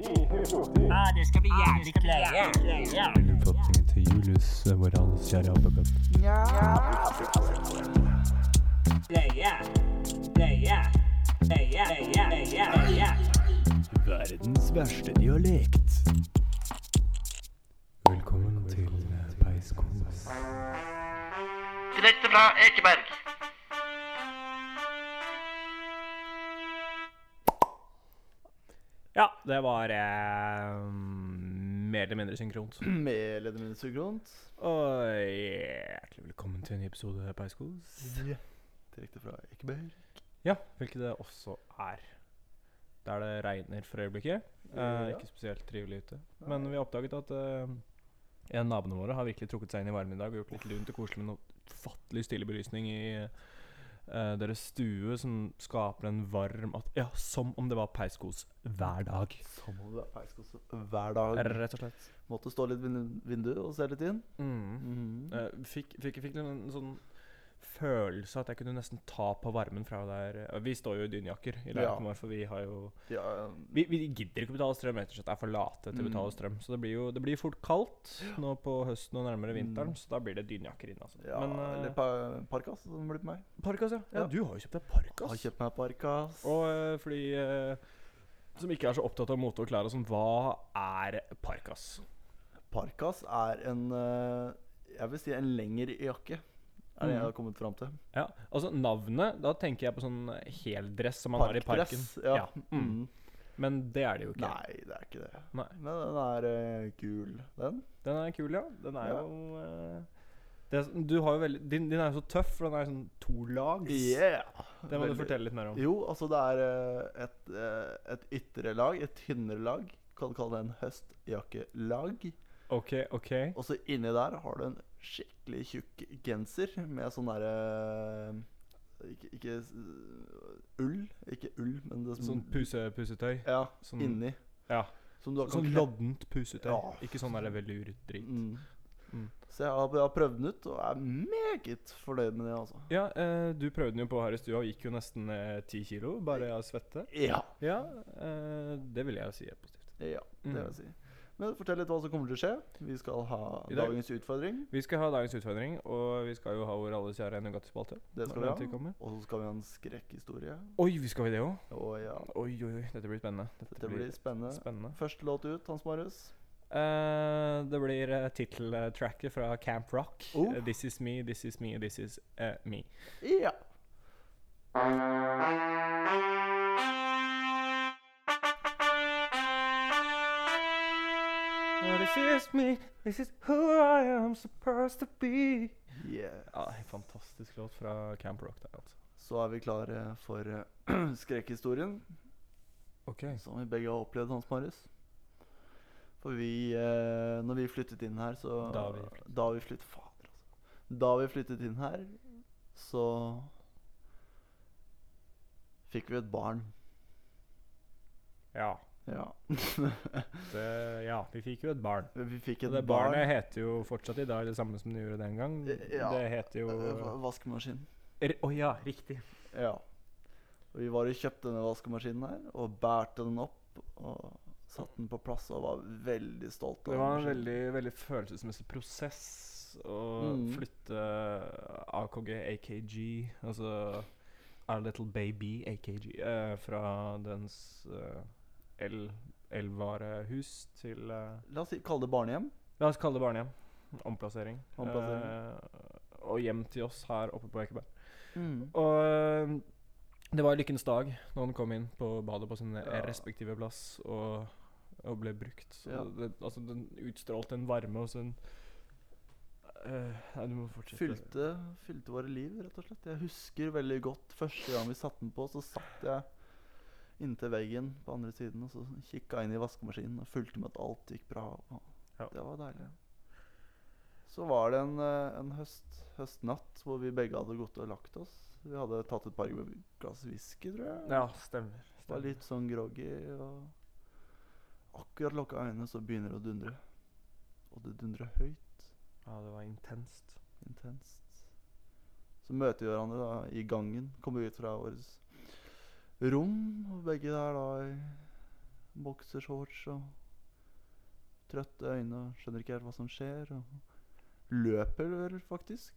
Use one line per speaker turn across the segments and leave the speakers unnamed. eh,
Ah, det skal bli jævlig kleie.
Innfatningen til Julius,
eh,
vår alles kjære apekatt.
Kleie. Kleie. Kleie. Kleie. Kleie.
Verdens verste dialekt. Velkommen til
eh,
Peiskos.
Direkte fra Ekeberg.
Ja, det var eh, mer eller mindre synkront.
Med Lederminutt Sugront.
Og hjertelig velkommen til en ny episode av Peiskos.
Direkte fra Ekeberg.
Ja, hvilket det også er. Der det regner for øyeblikket. Eh,
Ja.
ikke spesielt trivelig ute. Men vi har oppdaget at eh, en av naboene våre har virkelig trukket seg inn i varmen i dag og gjort litt lunt og koselig med noe ufattelig stille belysning i eh, deres stue, som skaper en varm at Ja, som om det var peiskos hver dag.
Som om det er peiskos hver dag.
Rett og slett.
Måtte stå litt vind vinduet og se litt inn. Mm-hmm.
Mm. Eh, fikk, fikk, fikk en sånn følelse at jeg kunne nesten ta på varmen fra der eh, Vi står jo i dunjakker i
Ja.
leiligheten vår, for vi har jo
Ja,
vi, vi gidder ikke betale strøm, rett og slett. er for late til å betale
Mm.
strøm. Så det blir jo det blir fort kaldt nå på høsten og nærmere vinteren, så da blir det dunjakker inne. Altså.
Mm. ja
Men eh,
eller pa parkas, som det blir på meg.
parkas, ja. ja.
ja.
Du har jo kjøpt deg
Jeg har
parkas.
kjøpt meg parkas.
Og eh, for de eh, som ikke er så opptatt av mote og klær og sånn, hva er parkas?
Parkas er en eh, Jeg vil si en lengre jakke. Er det jeg
Mm-hmm.
har kommet fram til.
Ja, altså Navnet, da tenker jeg på sånn heldress som man har i parken.
Parkdress, Ja.
Mm.
Mm.
Men det er det jo ikke.
Nei, det er ikke det.
Nei.
Men den er eh, gul, den.
Den er kul, ja. Den er
Ja.
jo eh, det, er sånn- Du har jo veldig din, din er jo så tøff, for den er sånn tolags.
Yeah!
Det må du
Veldig-
fortelle litt mer om.
Jo, altså det er eh, et, eh, et ytre lag, et tynnere lag. Kan du kalle det en høstjakkelag.
Ok, ok.
Og så inni der har du en skikkelig tjukk genser med sånn derre ikke, ikke s- ull. Ikke ull, men det som
Sånn puse, pusetøy.
Ja,
sånn-
inni.
Ja.
Som du da kan
Sånn
kle-
loddent pusetøy.
Ja.
Ikke sånn der velurdritt.
Mm.
Mm.
Så jeg har, jeg har prøvd den ut, og er meget fornøyd med det, altså.
Ja, eh, du prøvde den jo på her i stua og gikk jo nesten eh, ti kilo bare av svette.
Ja.
Ja, eh, det vil jeg jo si er positivt.
ja det vil
Mm.
jeg si. Men fortell litt hva som kommer til å skje. Vi skal ha
I dag-
dagens utfordring.
Vi skal ha dagens utfordring, og vi skal jo ha vår alles kjære Nugatti-spalte.
Det
når
skal vi
den tid
ha.
kommer.
Og så skal vi ha en skrekkhistorie.
Oi, vi skal vi det òg?
Og ja,
Oi, oi, oi. Dette blir spennende.
dette blir spennende.
spennende.
Første låt ut, Hans Marius.
Eh, det blir uh, titteltracket fra Camp Rock.
Oh.
Eh, this is me, this is me, this is eh, me.
Ja.
this is me, this is who I am supposed to be.
Yeah.
Ja, en Fantastisk låt fra Camp Rock der, altså.
Så er vi klare for eh, skrekkhistorien,
Ok.
som vi begge har opplevd, Hans Marius. For vi eh, Når vi flyttet inn her, så
Da vi flyttet.
Da vi flyttet, fader, altså. da vi flyttet inn her, så fikk vi et barn.
Ja,
Ja.
det, ja, vi fikk jo et barn.
Vi fikk
Og
et
det
barn.
barnet heter jo fortsatt i dag det samme som det gjorde den gang.
Ja.
Det heter jo
Eh, va-
Å
Vaskemaskin.
ja, riktig.
Ja. Og vi var og kjøpte denne vaskemaskinen her, og bærte den opp. Og satte den på plass og var veldig stolt.
Det
den
var en
maskinen.
veldig, veldig følelsesmessig prosess å
Mm.
flytte AKG, AKG, altså Our Little Baby, AKG, eh, fra dens eh, el elvarehus til eh,
La oss si, kalle det barnehjem.
La oss kalle det barnehjem. Omplassering.
Omplassering.
Eh, og hjem til oss her oppe på Ekeberg. Og eh, det var lykkens dag når han kom inn på badet på sin
Ja.
respektive plass og, og ble brukt. Og
Ja.
Det, altså, den utstrålte en varme hos en Eh, Nei, du må fortsette.
Fylte, fylte våre liv, rett og slett. Jeg husker veldig godt første gang vi satte den på, så satt jeg inntil veggen på andre siden og så kikka inn i vaskemaskinen og fulgte med at alt gikk bra. Og
Ja.
Det var deilig. Så var det en, eh, en høst, høstnatt hvor vi begge hadde gått og lagt oss. Vi hadde tatt et par glass whisky, tror jeg.
Ja, stemmer.
Var
stemmer.
litt sånn groggy og Akkurat lukka øynene, så begynner det å dundre. Og det dundrer høyt.
Ja, det var intenst.
Intenst. Så møter vi hverandre da i gangen. Kommer ut fra vårt rom, og begge er da i boksershorts og trøtte øyne og skjønner ikke helt hva som skjer. Og løper vel, faktisk.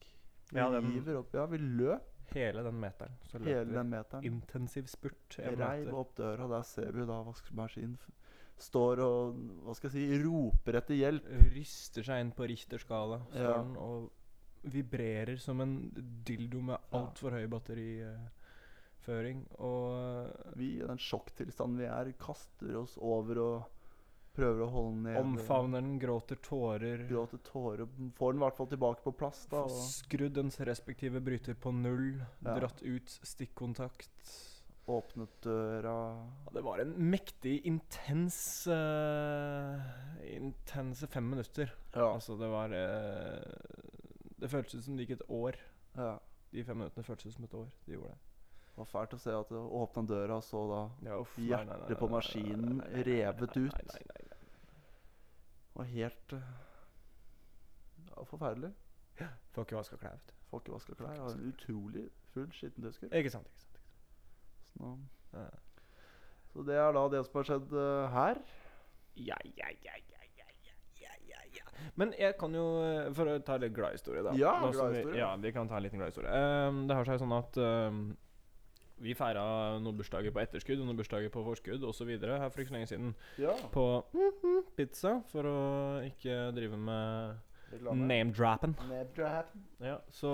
Vi
Ja, den-
hiver opp. Ja, vi løp
Hele den meteren. Så løper
hele
vi.
den meteren.
Intensiv spurt. en
Reiv
meter.
opp døra, der ser vi jo da vaskemaskinen f- står og hva skal jeg si, roper etter hjelp.
Ryster seg inn på Richter-skala. Står
Ja.
den og vibrerer som en dildo med
Ja.
altfor høy batteriføring. Og
Vi i den sjokktilstanden vi er, kaster oss over og prøver å holde den ned.
omfavner den, gråter tårer.
Gråter tårer. Får den i hvert fall tilbake på plass, da.
Får
Og
skrudd dens respektive bryter på null.
Ja.
Dratt ut stikkontakt.
åpnet døra.
Ja, det var en mektig, intens eh, Intense fem minutter.
Ja.
Altså, det var eh, Det føltes ut som det gikk et år.
ja.
De fem minuttene føltes ut som et år. De gjorde det.
Det var fælt å se at det åpna døra, og så da
Ja, uff, nei, nei, nei,
hjertet på
nei, nei,
maskinen
nei, nei, nei,
revet
nei,
ut.
nei, nei, nei.
Det var helt eh, ja, forferdelig.
Får ikke vaska klær, vet du.
Får ikke vaska klær. Har en utrolig full skittentøysker.
Ikke sant, ikke sant.
Så nå-
Ja.
Så det er da det som har skjedd eh, her.
Ja, ja, ja, ja, ja, ja, ja, ja, ja. Men jeg kan jo eh, For å ta litt gladhistorie, da.
Ja,
Nå som
gladhistorie.
Vi, ja, vi kan ta en liten gladhistorie. Um, det har seg sånn at ehm, vi feira noen bursdager på etterskudd og noen bursdager på forskudd osv. her for ikke så lenge siden.
Ja.
På mhm, pizza, for å ikke drive med name-drappen. Ja, så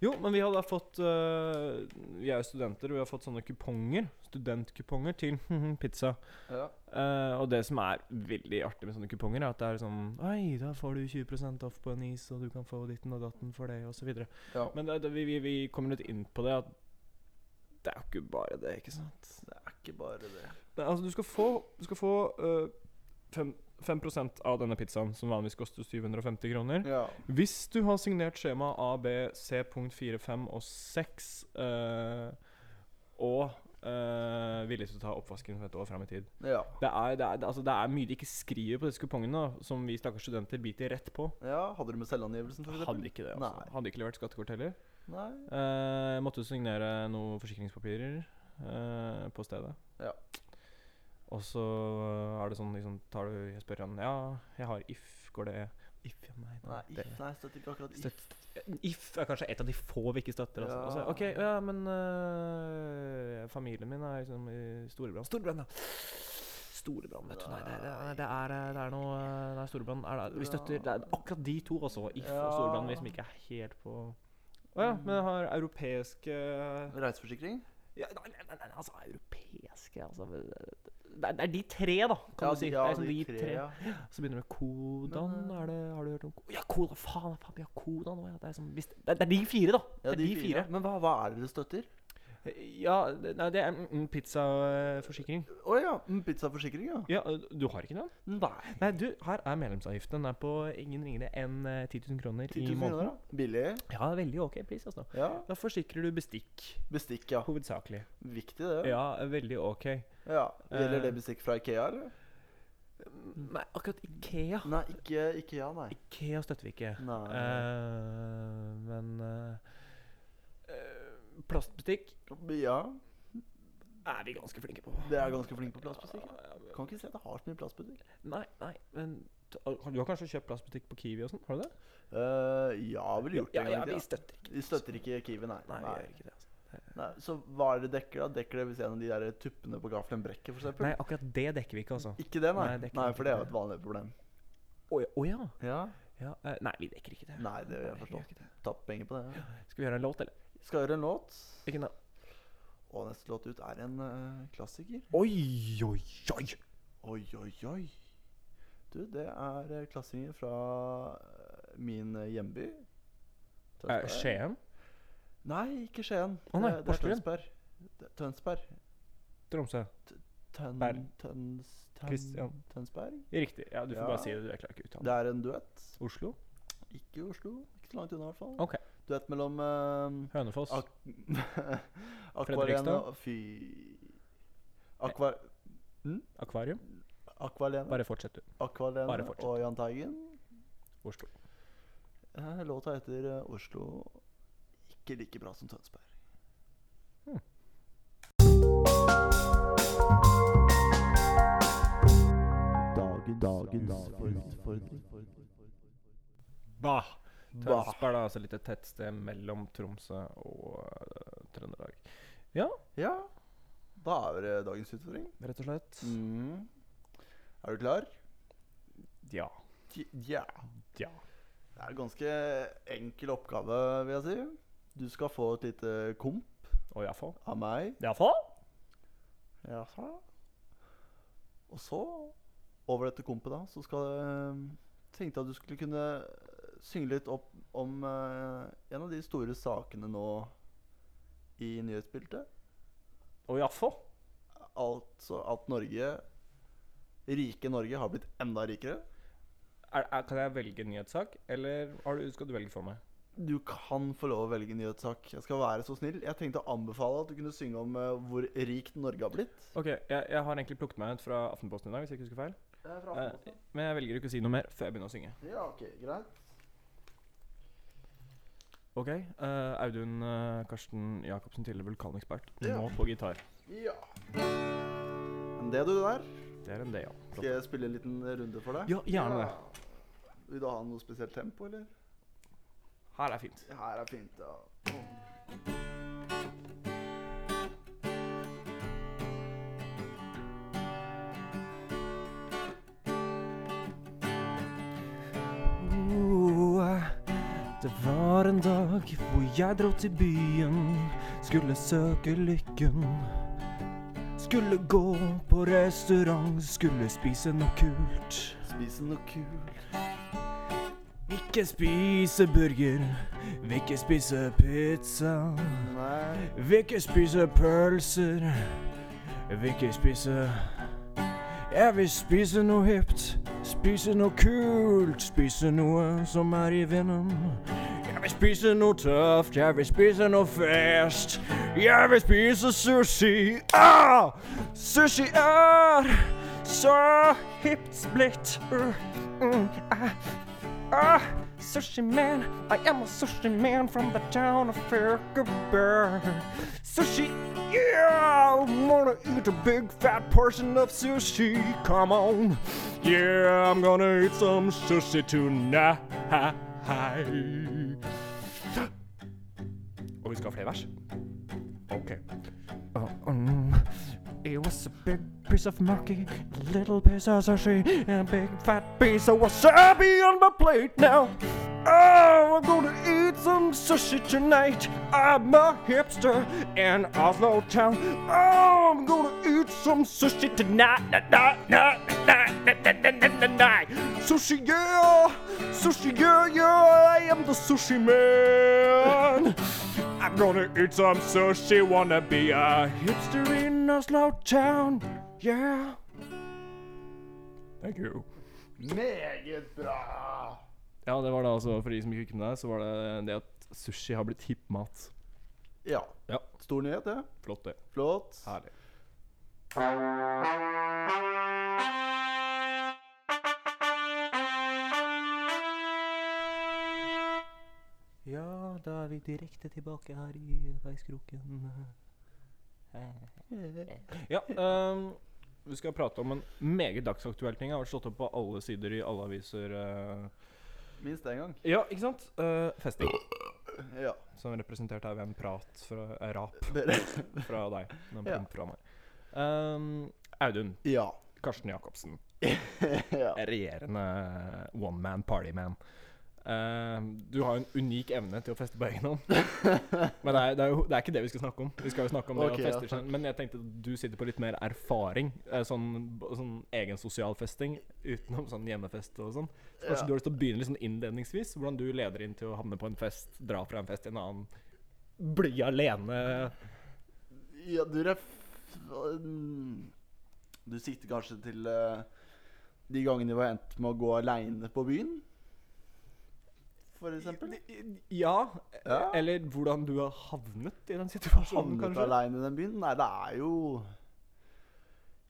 Jo, men vi har da fått eh, Vi er jo studenter, og vi har fått sånne kuponger. Studentkuponger til pizza.
Ja.
Eh, og det som er veldig artig med sånne kuponger, er at det er sånn Oi, da får du 20 off på en is, og du kan få ditten og datten for det, og så videre.
ja.
Men det, det, vi, vi, vi kommer litt inn på det at det er jo ikke bare det, ikke sant?
Det er ikke bare det.
Nei, altså, du skal få, du skal få eh, fem, 5 av denne pizzaen, som vanligvis koster 750 kroner.
Ja.
Hvis du har signert skjema A, B, C, punkt 4, 5 og 6, eh, og eh, villig til å ta oppvasken for et år fram i tid
Ja.
det er, det, er, altså det er mye de ikke skriver på disse kupongene, da, som vi stakkars studenter biter rett på.
ja. Hadde du med selvangivelsen, for eksempel?
Hadde ikke det, altså.
Nei.
Hadde ikke levert skattekort heller.
Nei.
Eh, jeg måtte signere noen forsikringspapirer eh, på stedet.
Ja.
Og så er det sånn liksom, tar du, Jeg spør han Ja, jeg har if. Går det If, ja, nei.
Nei,
det-
if, nei støtter ikke akkurat if.
Støtt. If er kanskje et av de få vi ikke støtter. Altså.
Ja.
Altså, ok, ja, men øh, familien min er liksom i storebrann. Storebrann, ja! Storebrann, vet du. Nei, det, det, er- det, er, øh, det er noe øh, Det er storebrann. Er det, vi støtter det er akkurat de to også. If
Ja. Mm.
og storebrann, vi som ikke er helt på Å ja, men jeg har europeiske
Reiseforsikring?
ja, nei, nei, nei, nei, altså europeiske altså, det, er, det er de tre, da, kan
Ja,
du si.
ja,
det er liksom de, tre.
ja.
Så begynner det med Kodan.
Men, eh,
er det, har du hørt om Ko- Ja, Kodan! Faen, faen, ja, Kodan også, ja. Det er, sånn, hvis, det, er, det er de fire, da.
Ja,
det er de, fire.
Men hva, hva er det dere støtter?
Ja, det, nei, det er mm, mm, pizzaforsikring.
Å ja, mm, pizzaforsikring, ja.
Ja, ø, du har ikke den?
Nei.
Nei, du, her er medlemsavgiften. Den er på ingen ringere enn eh, 10 000 kroner
10
i
000 kroner,
måneden.
da. Billig.
Ja, veldig ok pris, altså.
Ja.
Da forsikrer du bestikk,
Bestikk, ja.
hovedsakelig.
Viktig, det.
Ja, veldig ok.
ja. Gjelder
Eh.
det bestikk fra Ikea, eller?
Nei, akkurat Ikea.
Nei, ikke Ikea, nei.
Ikea støtter vi ikke.
Nei.
Eh, men eh, eh, plastbutikk
Ja,
er vi ganske flinke på.
det er ganske flink på plastbutikk. ja. Kan ikke si at det har så mye plastbutikk.
Nei, nei, men t- har- Du har kanskje kjøpt plastbutikk på Kiwi og sånn? Har du det?
Eh, ja, vel gjort det.
ja,
egentlig,
vi
da.
støtter ikke.
Vi støtter ikke Kiwi, nei.
Nei, vi gjør ikke det. Altså.
Nei, Så hva er det dekker, da? Dekker det hvis en av de der tuppene på gaffelen brekker, for eksempel?
Nei, akkurat det dekker vi ikke, altså.
Ikke det, nei.
Nei,
Nei,
dekker ikke
for det er jo
det.
et vanlig problem.
Å ja, å ja.
Ja.
ja. eh, Nei, vi dekker ikke det.
Nei, det gjør jeg
vi gjør
forstått.
ikke det.
Tapt penger på det.
Skal vi gjøre en låt, eller?
Skal gjøre en låt.
Ikke noe.
Og neste låt ut er en eh, klassiker.
Oi, oi, oi!
Oi, oi, oi. Du, det er eh, klassiker fra eh, min eh, hjemby.
Eh,
Tønsberg.
Skien?
Nei, ikke Skien.
Å nei,
Det- det er
Porsgrunn.
Tønsberg. Det- Tønsberg.
Tromsø?
Tøn,
Berg.
tøns, tøn,
Kristian.
Tønsberg.
Riktig. Ja, du får
Ja.
bare si det. Du jeg klarer ikke å
Det
uttale det.
er en duett.
Oslo?
Ikke i Oslo. Ikke så langt unna, i hvert fall.
Ok.
Duett mellom eh,
Hønefoss?
Ak
Fredrikstad?
Akvarena Fy Akva
Akvarium?
Akvalena
Bare fortsett, du. bare
Akvalena
fortsett.
og Jahn Teigen.
Oslo.
Eh, Låta heter eh, 'Oslo ikke like bra som Tønsberg'. Dagens utfordring.
Bah!
Bah.
Tønsberg er altså et lite tettsted mellom Tromsø og eh, Trøndelag. Ja,
Ja, da er det dagens utfordring.
rett og slett. Mm.
Er du klar?
Ja.
Ja.
Ja.
Det er en ganske enkel oppgave, vil jeg si. Du skal få et lite komp
Og iallfall.
av meg.
Iallfall?
Ja, så. Og så, over dette kompet, da, så skal eh, tenkte jeg at du skulle kunne eh, synge litt opp om eh, en av de store sakene nå i nyhetsbildet.
Og iallfall.
Altså at Norge, rike Norge, har blitt enda rikere.
Er, er, kan jeg velge nyhetssak, eller har du, skal du velge for meg?
Du kan få lov å velge nyhetssak. Jeg skal være så snill. Jeg tenkte å anbefale at du kunne synge om eh, hvor rikt Norge har blitt.
Ok, jeg, jeg har egentlig plukket meg ut fra Aftenposten i dag, hvis jeg ikke husker feil.
Eh, fra
Eh,
Aftenposten.
men jeg velger ikke å si noe mer før jeg begynner å synge.
Ja, ok, greit.
Ok, eh, Audun eh, Karsten Jacobsen, tidligere vulkanekspert,
Ja.
nå på gitar.
Ja. Men det du der,
Det er en det, ja.
skal jeg spille en liten runde for deg?
Ja, gjerne det.
Vil du ha noe spesielt tempo, eller?
Her er fint.
Det her er fint, ja.
Oh, Det var en dag hvor jeg dro til byen Skulle søke lykken Skulle gå på restaurant Skulle spise noe kult
Spise noe kult.
Ikke spise burger Vil ikke spise pizza
Nei.
Vil ikke spise pølser Vil ikke spise Jeg vil spise noe hipt Spise noe kult Spise noe som er i vinden Jeg vil spise noe tøft Jeg vil spise noe fest Jeg vil spise sushi ah! Sushi er Så hipt blitt uh, mm, ah. Ah, sushi man, I am a sushi man from the town of Fairkaberg. Sushi, yeah, I wanna eat a big fat portion of sushi. Come on, yeah, I'm gonna eat some sushi tonight. Og vi skal ha flere vers? Ok. Uh, um, it was a big piece of maki, a little piece of sushi, and a big fat piece of wasabi on my plate now. Oh, I'm gonna eat some sushi tonight. I'm a hipster in Oslo town. Oh, I'm gonna eat some sushi tonight. Na, na, na, na, na, na, na, na, na, na. Sushi, yeah! Ah, Sushi, yeah, yeah! I am the sushi man! I'm gonna eat some sushi, wanna be a hipster in Oslo town. Yeah! Thank you.
Meget bra!
Ja, det var da altså, for de som ikke kunne det, så var det det at sushi har blitt hipp mat.
Ja.
Ja.
Stor nyhet, det.
Flott, det.
Flott.
Herlig. Ja, da er vi direkte tilbake her i veiskroken. Ja, ehm, vi skal prate om en meget dagsaktuell ting. Jeg har vært slått opp på alle sider i alle aviser. eh.
Minst én gang.
Ja, ikke sant? Eh, festing,
Ja.
som representert her ved en prat fra eh, rap
Dere.
fra deg. Den
Ja.
kom fra meg. Ehm, Audun
Ja.
Karsten Jacobsen,
ja.
regjerende one man party man. Ehm, du har jo en unik evne til å feste på egen hånd. Men det er, det, er jo, det er ikke det vi skal snakke om. Vi skal jo snakke om det
Ok,
å
ja,
feste generelt. Men jeg tenkte at du sitter på litt mer erfaring. eh, Sånn, b- sånn egen sosial festing utenom sånn hjemmefest og sånn. Så kanskje
Ja.
du har lyst til å begynne litt sånn innledningsvis? Hvordan du leder inn til å havne på en fest, dra fra en fest til en annen, bli alene
Ja, du ref... Mm. Du sikter kanskje til eh, de gangene vi har endt med å gå aleine på byen? For eksempel.
Ja,
Ja.
eller hvordan du har havnet i den situasjonen,
Havnet
kanskje.
aleine i den byen? Nei, det er jo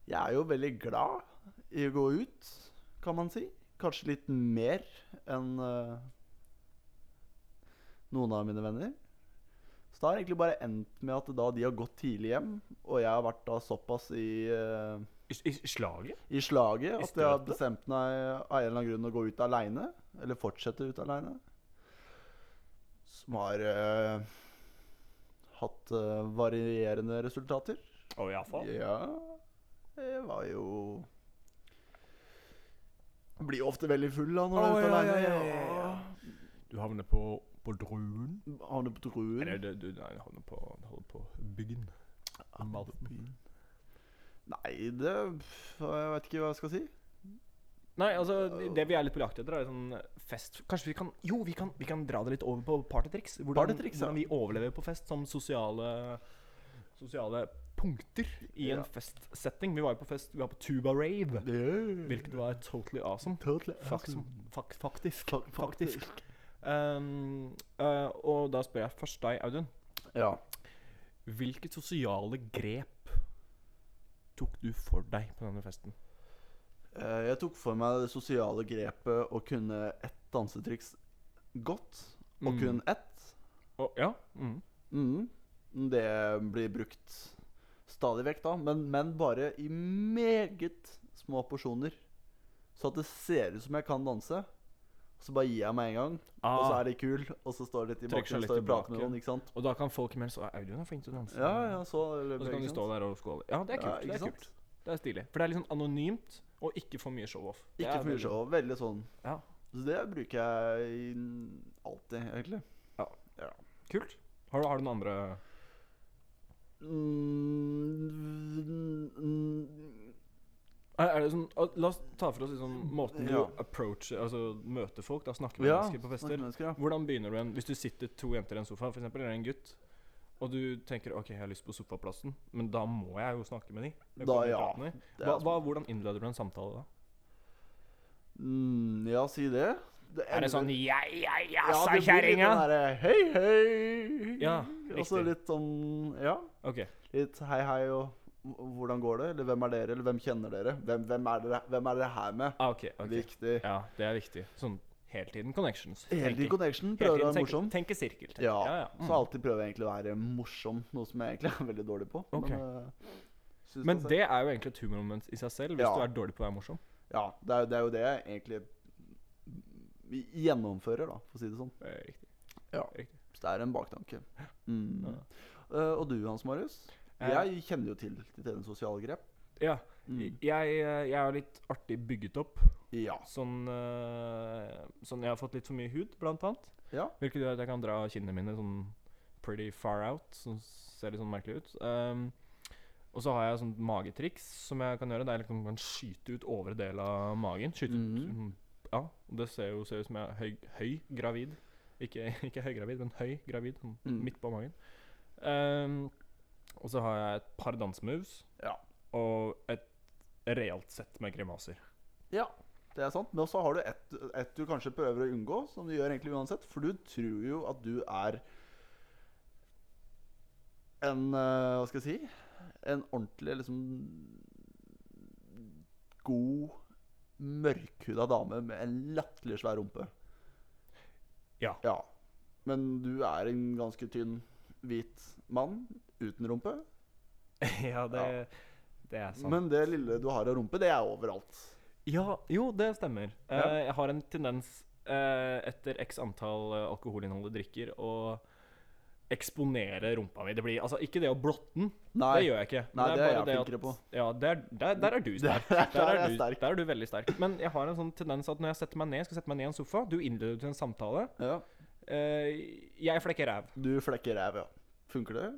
Jeg er jo veldig glad i å gå ut, kan man si. Kanskje litt mer enn eh, noen av mine venner. Så det har egentlig bare endt med at da de har gått tidlig hjem, og jeg har vært da såpass i eh,
I, i slaget?
I slaget
I
at jeg har
støtet?
bestemt meg av en eller annen grunn å gå ut aleine. Eller fortsette ut aleine. Som har eh, hatt eh, varierende resultater.
Å, iallfall.
Ja Jeg var jo Blir jo ofte veldig full da når
Å,
jeg er ute
ja,
aleine.
ja, ja, Du havner på, på druen.
Havner på druen.
Eller du, du nei, du havner på, du holder på byggen. Ah, Malten.
Nei, det Jeg vet ikke hva jeg skal si.
Nei, altså, det- det vi er litt på jakt etter, er sånn fest Kanskje vi kan Jo, vi kan, vi kan dra det litt over på partytriks. Hvordan,
Partytriks, ja.
hvordan vi overlever på fest som sosiale Sosiale punkter i en
Ja.
festsetting. Vi var jo på fest Vi var på Tuba Rave, hvilket var totally awesome.
Totally
Faktisk. Fak, faktisk.
Fak-
faktisk. Um, eh, og da spør jeg først deg, Audun.
Ja.
Hvilke sosiale grep tok du for deg på denne festen?
Eh, Jeg tok for meg det sosiale grepet å kunne ett dansetriks godt, og
Mm.
kun ett.
Å, ja. Mm.
Mm. Det blir brukt stadig vekk, da, men, men bare i meget små porsjoner. Så at det ser ut som jeg kan danse. Så bare gir jeg meg en gang, og så
Ah.
er de kul, og så står de litt i
Trekker seg
bakgrunnen
litt
står de og
tilbake.
prater med noen. ikke sant?
Og da kan folk imens Å, Audun er flink til å danse.
Ja, ja, så
Og så kan de stå der og skåle. Ja, det er kult. det er kult. Det er stilig. For det er litt sånn anonymt, og ikke for mye show-off. Det
Ikke
er
for mye
veldig-
show. Veldig sånn.
Ja.
Så det bruker jeg i- alltid, egentlig.
Kult. Har du, har du noen andre
Mm, mm,
er, er det sånn, å, La oss ta for oss liksom, måten du
Ja.
approach Altså møter folk, da snakker med
ja.
mennesker på
snakke
fester.
med mennesker, ja.
Hvordan begynner du en Hvis du sitter to jenter i en sofa, for eksempel, eller en gutt, og du tenker OK, jeg har lyst på sofaplassen, men da må jeg jo snakke med de. Jeg
Da,
kommer ikke
ja.
prate med de.
Det er altså-
Hva, hva, hvordan innleder du en samtale da?
Mm, ja, si det. det
Er det
ender-
sånn Ja, ja, ja,
Ja,
sa
det blir litt
kjerringa!
den derre Hei, hei.
Ja,
Og så
riktig.
litt sånn Ja.
OK.
Litt hei, hei og h- hvordan går det? Eller hvem er dere? Eller hvem kjenner dere? Hvem, hvem, er, dere, hvem er dere her med?
Ah, ok, ok.
Viktig.
Ja, det er viktig. Sånn hele tiden connections.
Hele
tenker-
tiden connection.
hele
Prøver å
tiden
være
tenke-
morsom.
Tenke sirkel. tenke-
Ja.
ja, ja. Mm.
Så alltid prøver jeg egentlig å være morsom, noe som jeg egentlig er veldig dårlig på.
Ok.
Men, eh, synes
Men
jeg-
det er jo egentlig et humormoment i seg selv, hvis
Ja.
du er dårlig på å være morsom.
Ja, det er, jo- det er jo det jeg egentlig gjennomfører, da, for å si det sånn.
Eh, Riktig.
Ja.
Riktig.
Så det er en baktanke. Mm.
Ja.
Eh, og du, Hans Marius?
Eh.
Jeg kjenner jo til ditt eget sosiale grep.
Ja.
Mm.
Jeg, eh, jeg er litt artig bygget opp.
Ja.
Sånn, eh, sånn Jeg har fått litt for mye hud, blant annet.
Ja.
Hvilket gjør at jeg kan dra kinnene mine sånn pretty far out. Som ser litt sånn merkelig ut. Um, og så har jeg sånn magetriks som jeg kan gjøre. Der jeg liksom kan skyte ut øvre del av magen. Skyte ut
Mhm.
mm, Ja, det ser jo ser ut som jeg er høy, høy gravid. Ikke, ikke høygravid, men høy gravid. Sånn
Mm.
midt på magen. Um, og så har jeg et par dansemoves.
Ja.
Og et realt sett med grimaser.
ja. Det er sant. Men så har du ett et du kanskje prøver å unngå, som du gjør egentlig uansett. For du tror jo at du er en eh, Hva skal jeg si? En ordentlig liksom god, mørkhuda dame med en latterlig svær rumpe.
Ja.
Ja. Men du er en ganske tynn, hvit mann uten rumpe.
ja, det, det er sant.
Men det lille du har av rumpe, det er overalt.
Ja, jo, det stemmer.
Ja.
Eh, jeg har en tendens eh, etter x antall eh, alkoholinnholdet drikker å eksponere rumpa mi. Det blir, altså, ikke det å blotte den,
Nei.
det gjør jeg ikke.
Nei, det er jeg
at-
flinkere på.
Ja, der, der, der er du sterk.
Der- der er jeg
du,
sterk.
der er du veldig sterk. Men jeg har en sånn tendens at når jeg setter meg ned, skal sette meg ned i en sofa Du innleder til en samtale.
Ja.
eh, jeg flekker ræv.
Du flekker ræv, ja. Funker det?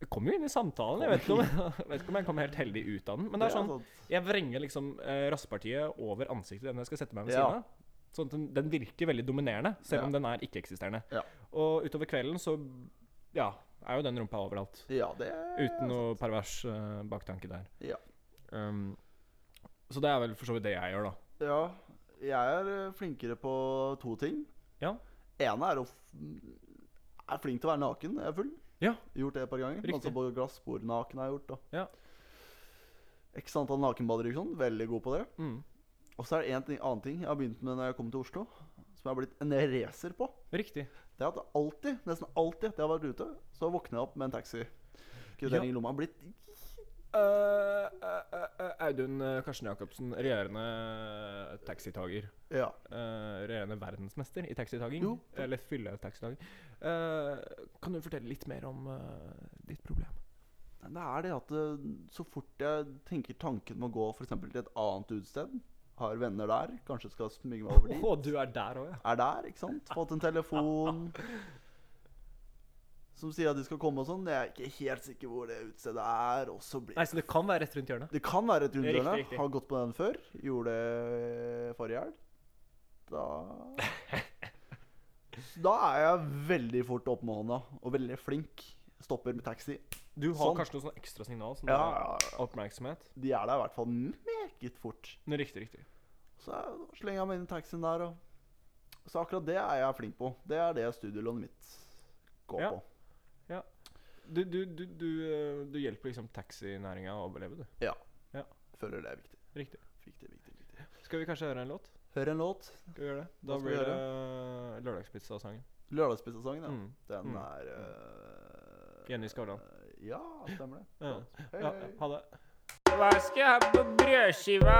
Jeg kommer jo inn i samtalen. Jeg vet ikke om jeg, vet ikke om jeg kommer helt heldig ut av den. Men det er sånn
sant.
Jeg vrenger liksom eh, rasspartiet over ansiktet til den jeg skal sette meg ved
Ja.
siden av. Sånn at den, den virker veldig dominerende, selv om den er ikke-eksisterende.
Ja.
Og utover kvelden så ja, er jo den rumpa overalt.
Ja, det
Uten noe pervers eh, baktanke der.
Ja.
Um, så det er vel for så vidt det jeg gjør, da.
Ja. Jeg er eh, flinkere på to ting.
Ja.
Ene er å f er flink til å være naken når jeg er full.
Ja.
Gjort det et par ganger.
Riktig.
Altså på glassbord naken har jeg gjort. da
Ja.
X antall nakenbader. ikke sant? Veldig god på det.
Mm.
Og så er det en ting, annen ting jeg har begynt med når jeg kom til Oslo, som jeg har blitt en racer på.
Riktig.
Det er at jeg alltid, nesten alltid etter jeg har vært ute, så våkner jeg opp med en taxi. Kvittering i lomma. Blitt
Eh, eh, eh, eh, Audun eh, Karsten Jacobsen, regjerende eh, taxitager.
Ja.
Eh, regjerende verdensmester i taxitaging.
Jo, takk.
Eller fylle taxitaging. Eh, kan du fortelle litt mer om eh, ditt problem?
Nei, Det er det at eh, så fort jeg tenker tanken med å gå for eksempel til et annet utested, har venner der, kanskje skal smyge meg over dit,
du er der òg, ja.
er der, ikke sant? Fått en telefon som sier at de skal komme og sånn. Jeg er ikke helt sikker hvor det utestedet er. Og så blir
Nei, Så det kan være rett rundt hjørnet?
Det kan være et
Riktig,
rundhjørne.
riktig.
Har gått på den før. Gjorde det forrige helg. Da Da er jeg veldig fort opp med hånda, og veldig flink. Stopper med taxi.
Du har
Sånn.
kanskje noe sånn ekstra signal? Sånn
Ja, ja,
Oppmerksomhet?
De er der i hvert fall meget fort.
Nei, Riktig, riktig.
Så jeg slenger jeg meg inn i taxien der, og Så akkurat det er jeg flink på. Det er det studielånet mitt går
Ja.
på.
Du, du, du, du, eh, du hjelper liksom taxinæringa å overleve, du.
Ja.
Ja.
Føler det er viktig.
Riktig.
Viktig, viktig, viktig.
Skal vi kanskje høre en låt?
Hør en låt.
Skal vi gjøre det? Da
Hva skal vi
blir det eh, Lørdagspizzasangen.
Lørdagspizzasangen, ja.
Mm.
Den
Mm.
er øh,
Jenny Skavlan.
Ja, stemmer det.
Ja.
Flott. Hei,
Ja,
hei.
ha det.
Hva skal jeg ha på brødskiva?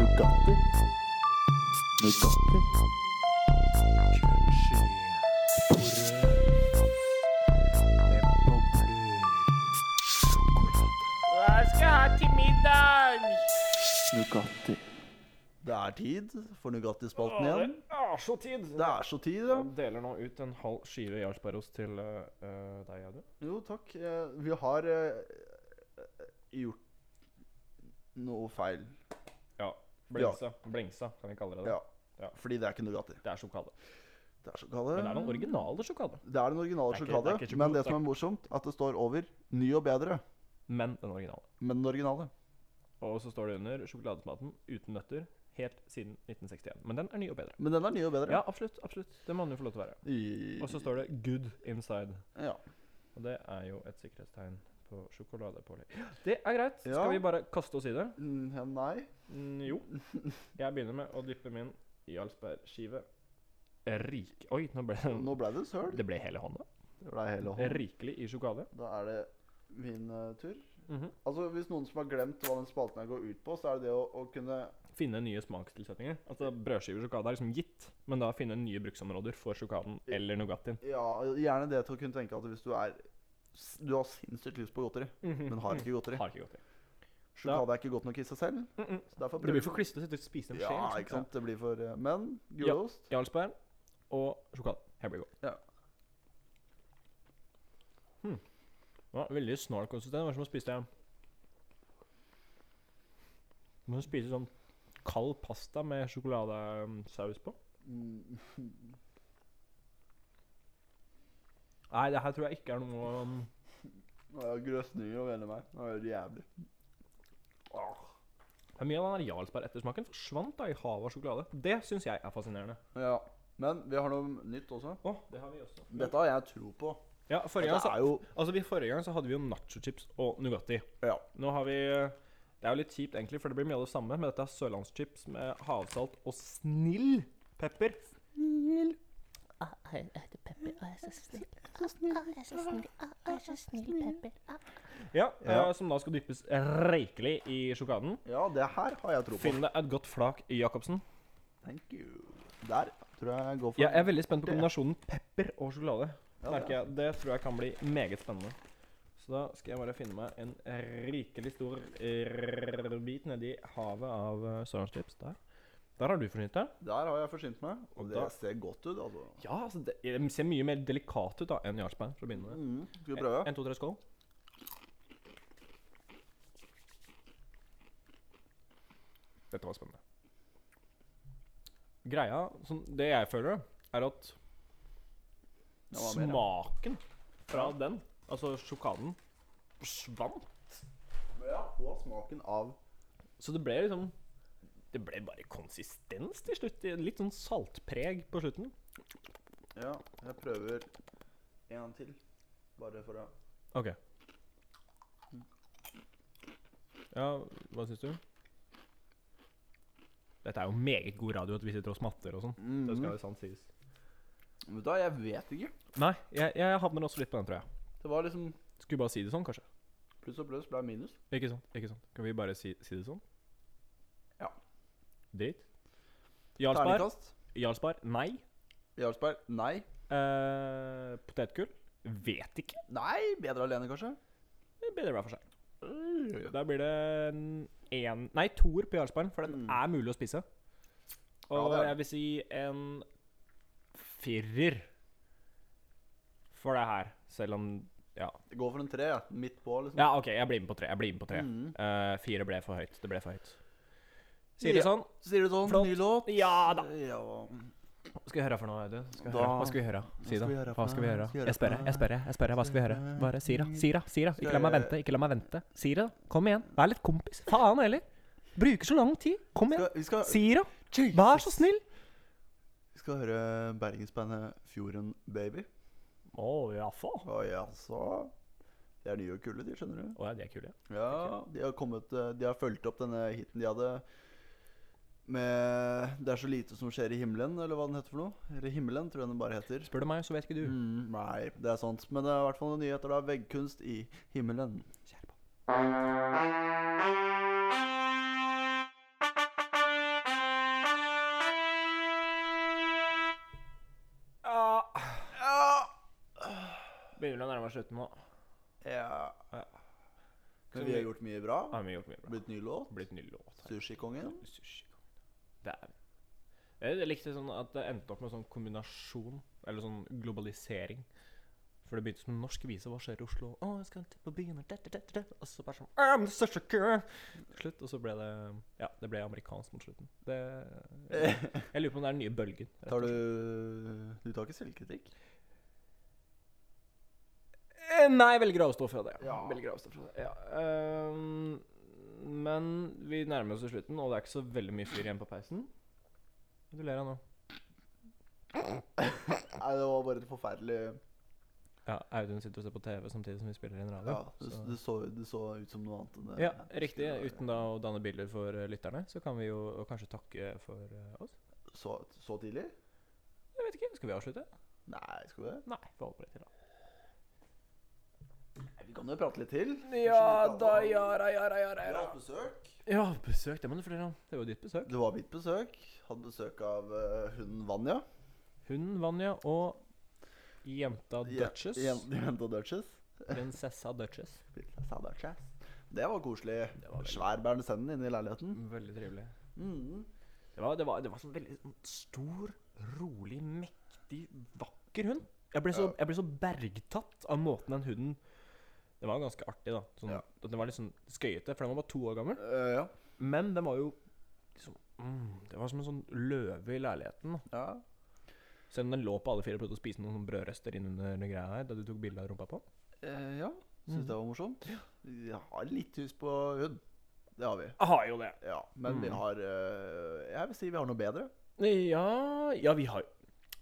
Bugatti. Bugatti.
Hva skal jeg ha til middag?
Nugatti. Det er tid for Nugatti-spalten
Å,
igjen.
Det er så tid!
Det er så tid, ja.
Jeg deler nå ut en halv skive Jarlsbergost til eh, eh, deg, Audun.
Jo, takk. Eh, Vi har eh, gjort noe feil.
Ja. Blengsa. Blengsa, kan vi kalle det. det.
Ja. Fordi det er ikke Nugatti.
Det er sjokade.
Det er sjokade.
Men det er noen originale sjokade.
Det er den originale
Det er ikke-
sjokade,
det er ikke
men
sjokolade,
det som er morsomt, at det står over ny og bedre,
Men den originale.
men den originale.
Og så står det under sjokoladesmaten uten nøtter helt siden 1961. Men den er ny og bedre.
Men den er ny og bedre.
Ja, absolutt. absolutt. Det må den jo få lov til å være.
I-
Og så står det 'good inside'.
ja.
Og det er jo et sikkerhetstegn på sjokoladepålegg. Det er greit.
Ja.
Skal vi bare kaste oss i det?
Mm, ja, Nei.
Mm, jo. Jeg begynner med å dyppe min Jarlsberg-skive rik... Oi, nå ble den
Nå ble det søl.
Det ble hele hånda.
Det ble hele hånd.
Rikelig i sjokolade.
Da er det min eh, tur. Altså, Hvis noen som har glemt hva den spalten her går ut på, så er det det å, å kunne
Finne nye smakstilsetninger. Altså Brødskiver og sjokolade er liksom gitt, men da finne nye bruksområder for sjokoladen eller Nougattien.
Ja, gjerne det til å kunne tenke at hvis du er s- Du har sinnssykt lyst på godteri, men har ikke godteri.
Mm. Har ikke godt i.
Sjokolade er ikke godt nok i seg selv. Så
Det
derfor prøver
blir for liksom. klissete å sitte og spise en skje.
Ja, ikke sant? Det blir for eh, Men gulost
Jarlsberg og sjokolade. Here we go.
Ja.
Hmm. Ja, veldig snar konsistens. Det var som å spise Man spiser sånn kald pasta med sjokoladesaus på.
Mm,
Nei, det her tror jeg ikke er noe um,
Nå har jeg grøsninger over hele meg. Nå er det jævlig.
Men Mye av den der Jarlsberg-ettersmaken forsvant da i havet av sjokolade. Det syns jeg er fascinerende.
Ja. Men vi har noe nytt også.
Å, det har vi også.
Dette har jeg tro på.
Ja, forrige gang,
Dette
så,
er jo
altså, vi, forrige gang så hadde vi jo nachochips og Nugatti.
Ja.
Nå har vi eh, Det er jo litt kjipt, egentlig, for det blir mye av det samme, men dette er sørlandschips med havsalt og snill pepper.
Å, det er pepper. Å, jeg er så snill. Å, jeg er så snill. Å, jeg er så snill, pepper. Å,
Ja,
Ja.
eh, Som da skal dyppes rikelig i sjokoladen.
Ja, det her har jeg tro på.
Finn deg et godt flak i Jacobsen.
Thank you. Der tror jeg jeg går for
Jeg er veldig spent på
Det-
kombinasjonen pepper og sjokolade.
Ja,
merker
ja.
jeg. Det tror jeg kan bli meget spennende. Så da skal jeg bare finne meg en rikelig stor r- bit nedi havet av eh, sørlandschips. Der. Der har du forsynt deg.
Der har jeg forsynt meg.
Og
Og
da-
det ser godt ut, altså.
Ja, altså, det det ser mye mer delikat ut da enn Jarlsberg. for å begynne med.
Mm, skal vi prøve?
En, to, tre, skål. Dette var spennende. Greia, sånn, det jeg føler, er at
Det var mer, ja.
smaken fra den, altså sjokoladen, forsvant.
Ja, og smaken av
Så det ble liksom Det ble bare konsistens til slutt. i- Litt sånn saltpreg på slutten.
Ja, jeg prøver en til. Bare for å
Ok. Ja, hva syns du? Dette er jo meget god radio at vi sitter og smatter og sånn. Det skal jo sant sies.
Vet du hva, jeg vet ikke.
Nei, jeg, jeg havner også litt på den, tror jeg.
Det var liksom
Skulle bare si det sånn, kanskje.
Pluss og pluss ble minus.
Ikke sant? ikke sant Kan vi bare si, si det sånn?
Ja.
Drit. Jarlsberg?
Terningkast.
Jarlsberg? Nei.
Jarlsberg. Nei.
Eh, potetgull? Vet ikke.
Nei, bedre alene, kanskje?
Det er Bedre hver for seg. Da blir det en en- Nei, toer på Jarlsbergen, for den
Mm.
er mulig å spise.
Ja,
Og
det er den.
jeg vil si en firer for det her, selv om Ja,
Jeg går for en tre, jeg. midt på, liksom.
ja OK, jeg blir med på tre. Jeg blir med på tre.
Mm.
Eh, fire ble for høyt. Det ble for høyt. Sier det
Ja.
sånn?
Sier du sånn?
Flott.
Ny låt?
Ja da.
Ja.
Hva skal vi høre for noe, Audun? Hva skal vi
Da-
høre? Hva skal vi høre? Si
skal
da.
vi gjøre
Hva
for
skal vi gjøre?
noe? Skal vi gjøre
Jeg spørre,
for
jeg spørre, jeg spørre. Hva skal vi høre?
noe?
Bare si da. Si da, si da. Ikke la meg
jeg-
vente. Ikke la meg vente. Si da. Kom igjen. Vær litt kompis. Faen heller. Bruker så lang tid. Kom igjen.
Skal, vi, skal,
Si da. Vær så snill.
vi skal høre bergensbandet Fjorden Baby.
Å, ja, faen.
Å jaså? De er nye og kule, de, skjønner du.
Å ja, de er kule. ja.
Ja, De har kommet eh, De har fulgt opp denne hiten de hadde med 'Det er så lite som skjer i himmelen', eller hva den heter for noe. Eller 'Himmelen', tror jeg den bare heter.
Spør du meg, så vet ikke du.
Mm, nei, det er sant. Men det er i hvert fall noen nyheter, da. Veggkunst i himmelen.
Begynner å nærme meg slutten nå.
Ja.
Ja.
Men vi har gjort mye bra.
Har vi gjort mye bra.
Blitt ny låt.
Blitt ny låt.
Sushikongen.
Sushi. Dæven. Jeg jeg likte sånn at det endte opp med sånn kombinasjon, eller sånn globalisering. For det begynte som en norsk vise. Hva skjer i Oslo? Å, jeg skal til på byen og da, da, da, da, da. Og så bare sånn I'm the sushi girl! Til Slutt. Og så ble det Ja, det ble amerikansk mot slutten. Det Jeg, jeg lurer på om det er den nye bølgen. rett og
Tar
slett.
du Du tar ikke selvkritikk?
Eh, Nei, jeg velger å avstå fra det.
Ja.
Velger å avstå fra det. Ja. ehm, men vi nærmer oss jo slutten, og det er ikke så veldig mye fyr igjen på peisen. Du ler av nå.
Nei, det var bare et forferdelig
Ja, Audun sitter og ser på TV samtidig som vi spiller inn radio.
Ja,
så.
det, det, så, det så ut som noe annet enn det.
ja
det
riktig.
skulle være.
Uten da å danne bilder for eh, lytterne, så kan vi jo kanskje takke for eh, oss.
Så, så tidlig?
Jeg vet ikke, skal vi avslutte?
Nei, skal vi det?
Nei, vi holder på litt til, da.
Nei, Vi kan jo prate litt til.
jara, jara,
Vi har hatt besøk.
Ja, besøk, det må du fortelle om. Det var ditt besøk.
Det var mitt besøk. Hadde besøk av eh, hunden Vanja.
Hunden Vanja og jenta Duchess.
Ja, jen- Jenta Duchess.
Prinsessa Duchess.
Prinsessa Duchess. Det var koselig.
Det var veldig-
Svær bernesenden inne i leiligheten.
Veldig trivelig.
Mm.
Det var, det var, det var sånn veldig sånn stor, rolig, mektig, vakker hund. Jeg ble, så, jeg ble så bergtatt av måten den hunden Det var ganske artig, da. Sånn,
Ja.
at Den var litt sånn skøyete, for den var bare to år gammel.
Eh, ja.
Men den var jo liksom mm, Det var som en sånn løve i leiligheten. da.
ja.
Selv om den lå på alle fire og prøvde å spise noen sånn brødrester innunder den greia her da du tok bilde av rumpa på.
Eh, ja.
Mm.
Syns det var morsomt. Vi har litt hus på hund. Det har vi.
Jeg har jo det.
Ja, men
Mm.
vi har eh, Jeg vil si vi har noe bedre.
Ja, ja vi har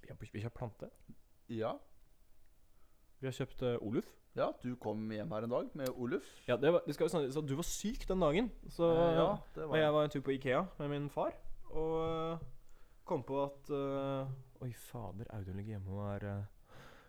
Vi har, vi har plante.
Ja.
Vi har kjøpt eh, Oluf.
ja, du kom hjem her en dag med Oluf.
Ja, det, var, det skal jo snakkes at Du var syk den dagen. Så
Eh, ja, det
Og
var
jeg var en tur på Ikea med min far, og øh, kom på at øh, Oi, fader, Audun ligger hjemme og er øh,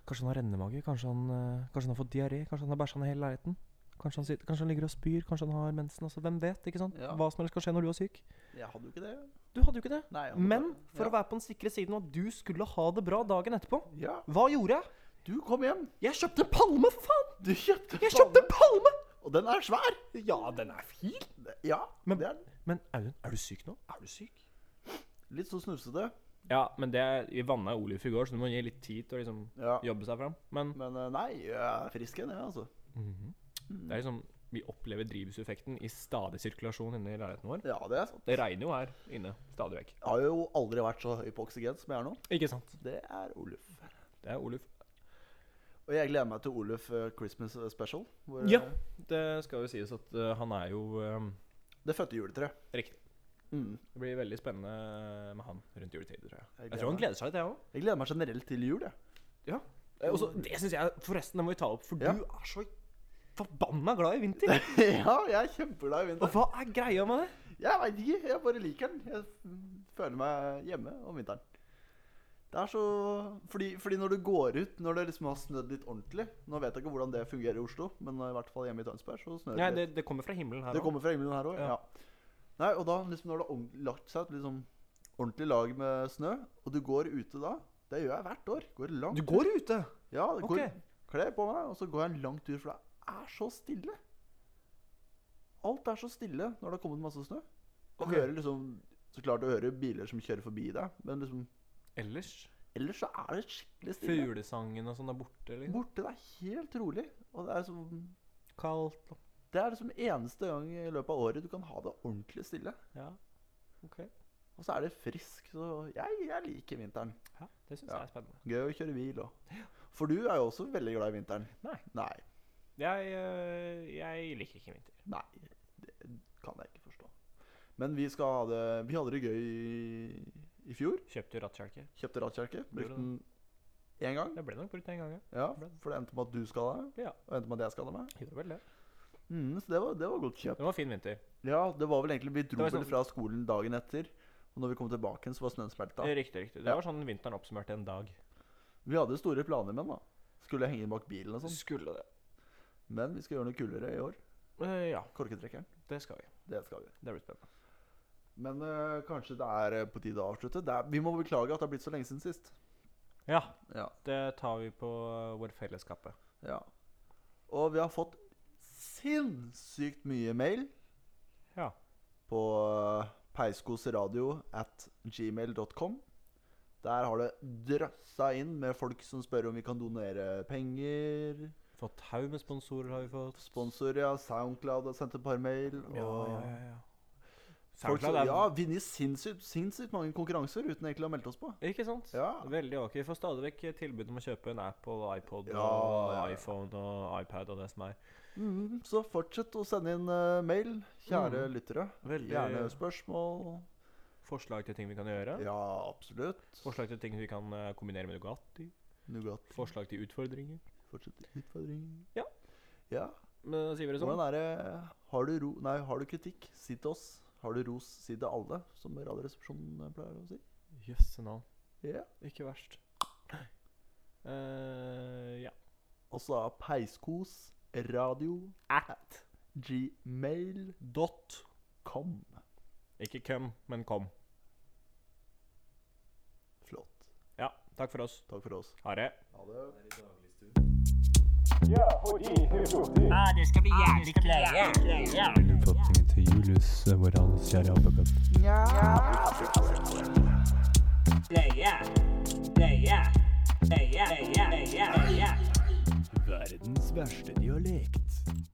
Kanskje han har rennemage? Kanskje han, øh, kanskje han har fått diaré? Kanskje han har bæsja ned hele leiligheten? Kanskje han, sitter, kanskje han ligger og spyr? Kanskje han har mensen? Altså, hvem vet? ikke sant?
Ja.
Hva som helst kan skje når du er syk.
Jeg hadde jo ikke det.
Du hadde jo ikke det.
Nei, jeg hadde
Men
ikke det.
for å være på den sikre siden at du skulle ha det bra dagen etterpå,
ja.
hva gjorde jeg?
ja, du kom hjem.
Jeg kjøpte en palme, for faen!
Du kjøpte
Jeg kjøpte en palme!
Og den er svær!
Ja, den er fin.
Ja,
Men-
det er den.
Men Audun, er du syk nå? Er du syk?
Litt så snufsete.
Ja, men det Vi vanna Oluf i går, så du må gi litt tid til å liksom
Ja.
jobbe seg fram. Men
Men eh, nei, jeg er frisk igjen, jeg, altså.
det er liksom vi opplever drivhuseffekten i stadig sirkulasjon inne i leiligheten vår.
Ja, det er sant.
Det regner jo her inne stadig vekk.
Jeg har jo aldri vært så høy på oksygen som jeg er nå.
Ikke sant?
Det er Oluf.
Det er Oluf.
Og jeg gleder meg til Oluf eh, Christmas special. Hvor,
Ja.
eh,
Det skal jo sies at eh, han er jo eh,
Det fødte juletreet.
Riktig.
Mm.
Det blir veldig spennende eh, med han rundt juletider, tror jeg.
Jeg
Jeg tror han
gleder
gleder seg litt, jeg òg.
Jeg gleder meg generelt til jul, jeg.
Og så- det syns jeg Forresten, det må vi ta opp, for
Ja.
du er så forbanna glad i vinter.
ja, jeg er kjempeglad i
Og
vinteren.
hva er greia med det?
Jeg veit ikke, jeg bare liker den. Jeg f- føler meg hjemme om vinteren. Det er så fordi, fordi når du går ut, når det liksom har snødd litt ordentlig Nå vet jeg ikke hvordan det fungerer i Oslo, men i hvert fall hjemme i Tønsberg så snør det
Nei,
litt.
det, det kommer fra himmelen her
Det
også.
kommer fra himmelen her òg, ja.
Ja.
Nei, og da liksom når det har ordent- lagt seg et liksom, ordentlig lag med snø, og du går ute da Det gjør jeg hvert år. Går langt
Du går ute!
Ja, det går,
Ok.
kler på meg, og så går jeg en lang tur, for det er så stille. Alt er så stille når det har kommet masse snø. Du
Ok.
hører liksom Så klart du hører biler som kjører forbi deg, men liksom
Ellers
Ellers så er det skikkelig stille.
Fuglesangen og sånn er borte. Liksom.
Borte, det er helt rolig. Og det er liksom
Kaldt og
Det er liksom eneste gang i løpet av året du kan ha det ordentlig stille.
Ja. Ok.
Og så er det frisk, så jeg, jeg liker vinteren.
Ja, det syns
Ja.
jeg er spennende.
Gøy å kjøre bil òg. For du er jo også veldig glad i vinteren.
Nei.
Nei.
Jeg, øh, jeg liker ikke vinter.
Nei, det kan jeg ikke forstå. Men vi, skal ha det, vi hadde det gøy i, i fjor.
Kjøpte jo rattkjelke.
Kjøpte rattkjelke.
Gjorde
Brukte den én gang.
Det ble nok brukt en gang, ja.
Ja, For det endte med at du skada meg,
Ja.
og endte med at jeg skada meg.
Gjorde vel det.
Mm, så det var, det var godt kjøp.
Det var fin vinter.
Ja, det var vel egentlig Vi dro
Det var
vel
sånn-
fra skolen dagen etter. Og når vi kom tilbake, igjen, så var snøen smelta.
Riktig, riktig. Det
Ja.
var sånn vinteren oppsummerte en dag.
Vi hadde store planer med den. da Skulle henge den bak bilen og sånn.
Skulle det.
Men vi skal gjøre noe kulere i år.
Eh, ja,
Korketrekkeren.
det skal vi.
Det skal vi.
Det blir spennende.
Men øh, kanskje det er øh, på tide å avslutte. Det er, vi må beklage at det har blitt så lenge siden sist.
Ja,
Ja.
det tar vi på øh, vår fellesskapet.
Ja. Og vi har fått sinnssykt mye mail
Ja.
på øh, peiskosradio at gmail.com. Der har det drøssa inn med folk som spør om vi kan donere penger.
Fått haug med sponsorer har vi fått.
Sponsorer, ja. Soundcloud har sendt et par mail. Og
Ja, ja, ja, ja.
Folk som
SoundCloud er
ja, vinner sinnssykt, sinnssykt mange konkurranser uten egentlig å ha meldt oss på.
Ikke sant?
Ja.
Veldig ok. Vi får stadig vekk tilbud om å kjøpe en app og iPod
Ja,
og
ja, ja.
iPhone og iPad og det som er.
Mm, så fortsett å sende inn eh, mail, kjære lyttere.
Mm. Veldig
Gjerne spørsmål.
forslag til ting vi kan gjøre.
Ja, absolutt.
Forslag til ting vi kan eh, kombinere med Nugatti.
Nougat.
Forslag til utfordringer.
Fortsett utfordringer.
Ja.
ja.
Men da sier vi det sånn.
Hvordan er det Har du, ro, nei, har du kritikk, si til oss. Har du ros, si til alle, som Radioresepsjonen eh, pleier å si.
Jøsse navn.
Ja.
Ikke verst. Eh, ja.
Og så er peiskos radio
At.
gmail.com.
Dot. Ikke køm, men kom.
Flott.
Ja. Takk for oss.
Takk for oss.
Ha det.
Ha det.
Ah, det skal bli jævlig kleie.
Innfatningen til Julius, eh, vår alles kjære apekatt.
Kleie. Kleie. Kleie. Kleie. Kleie.
Verdens verste dialekt.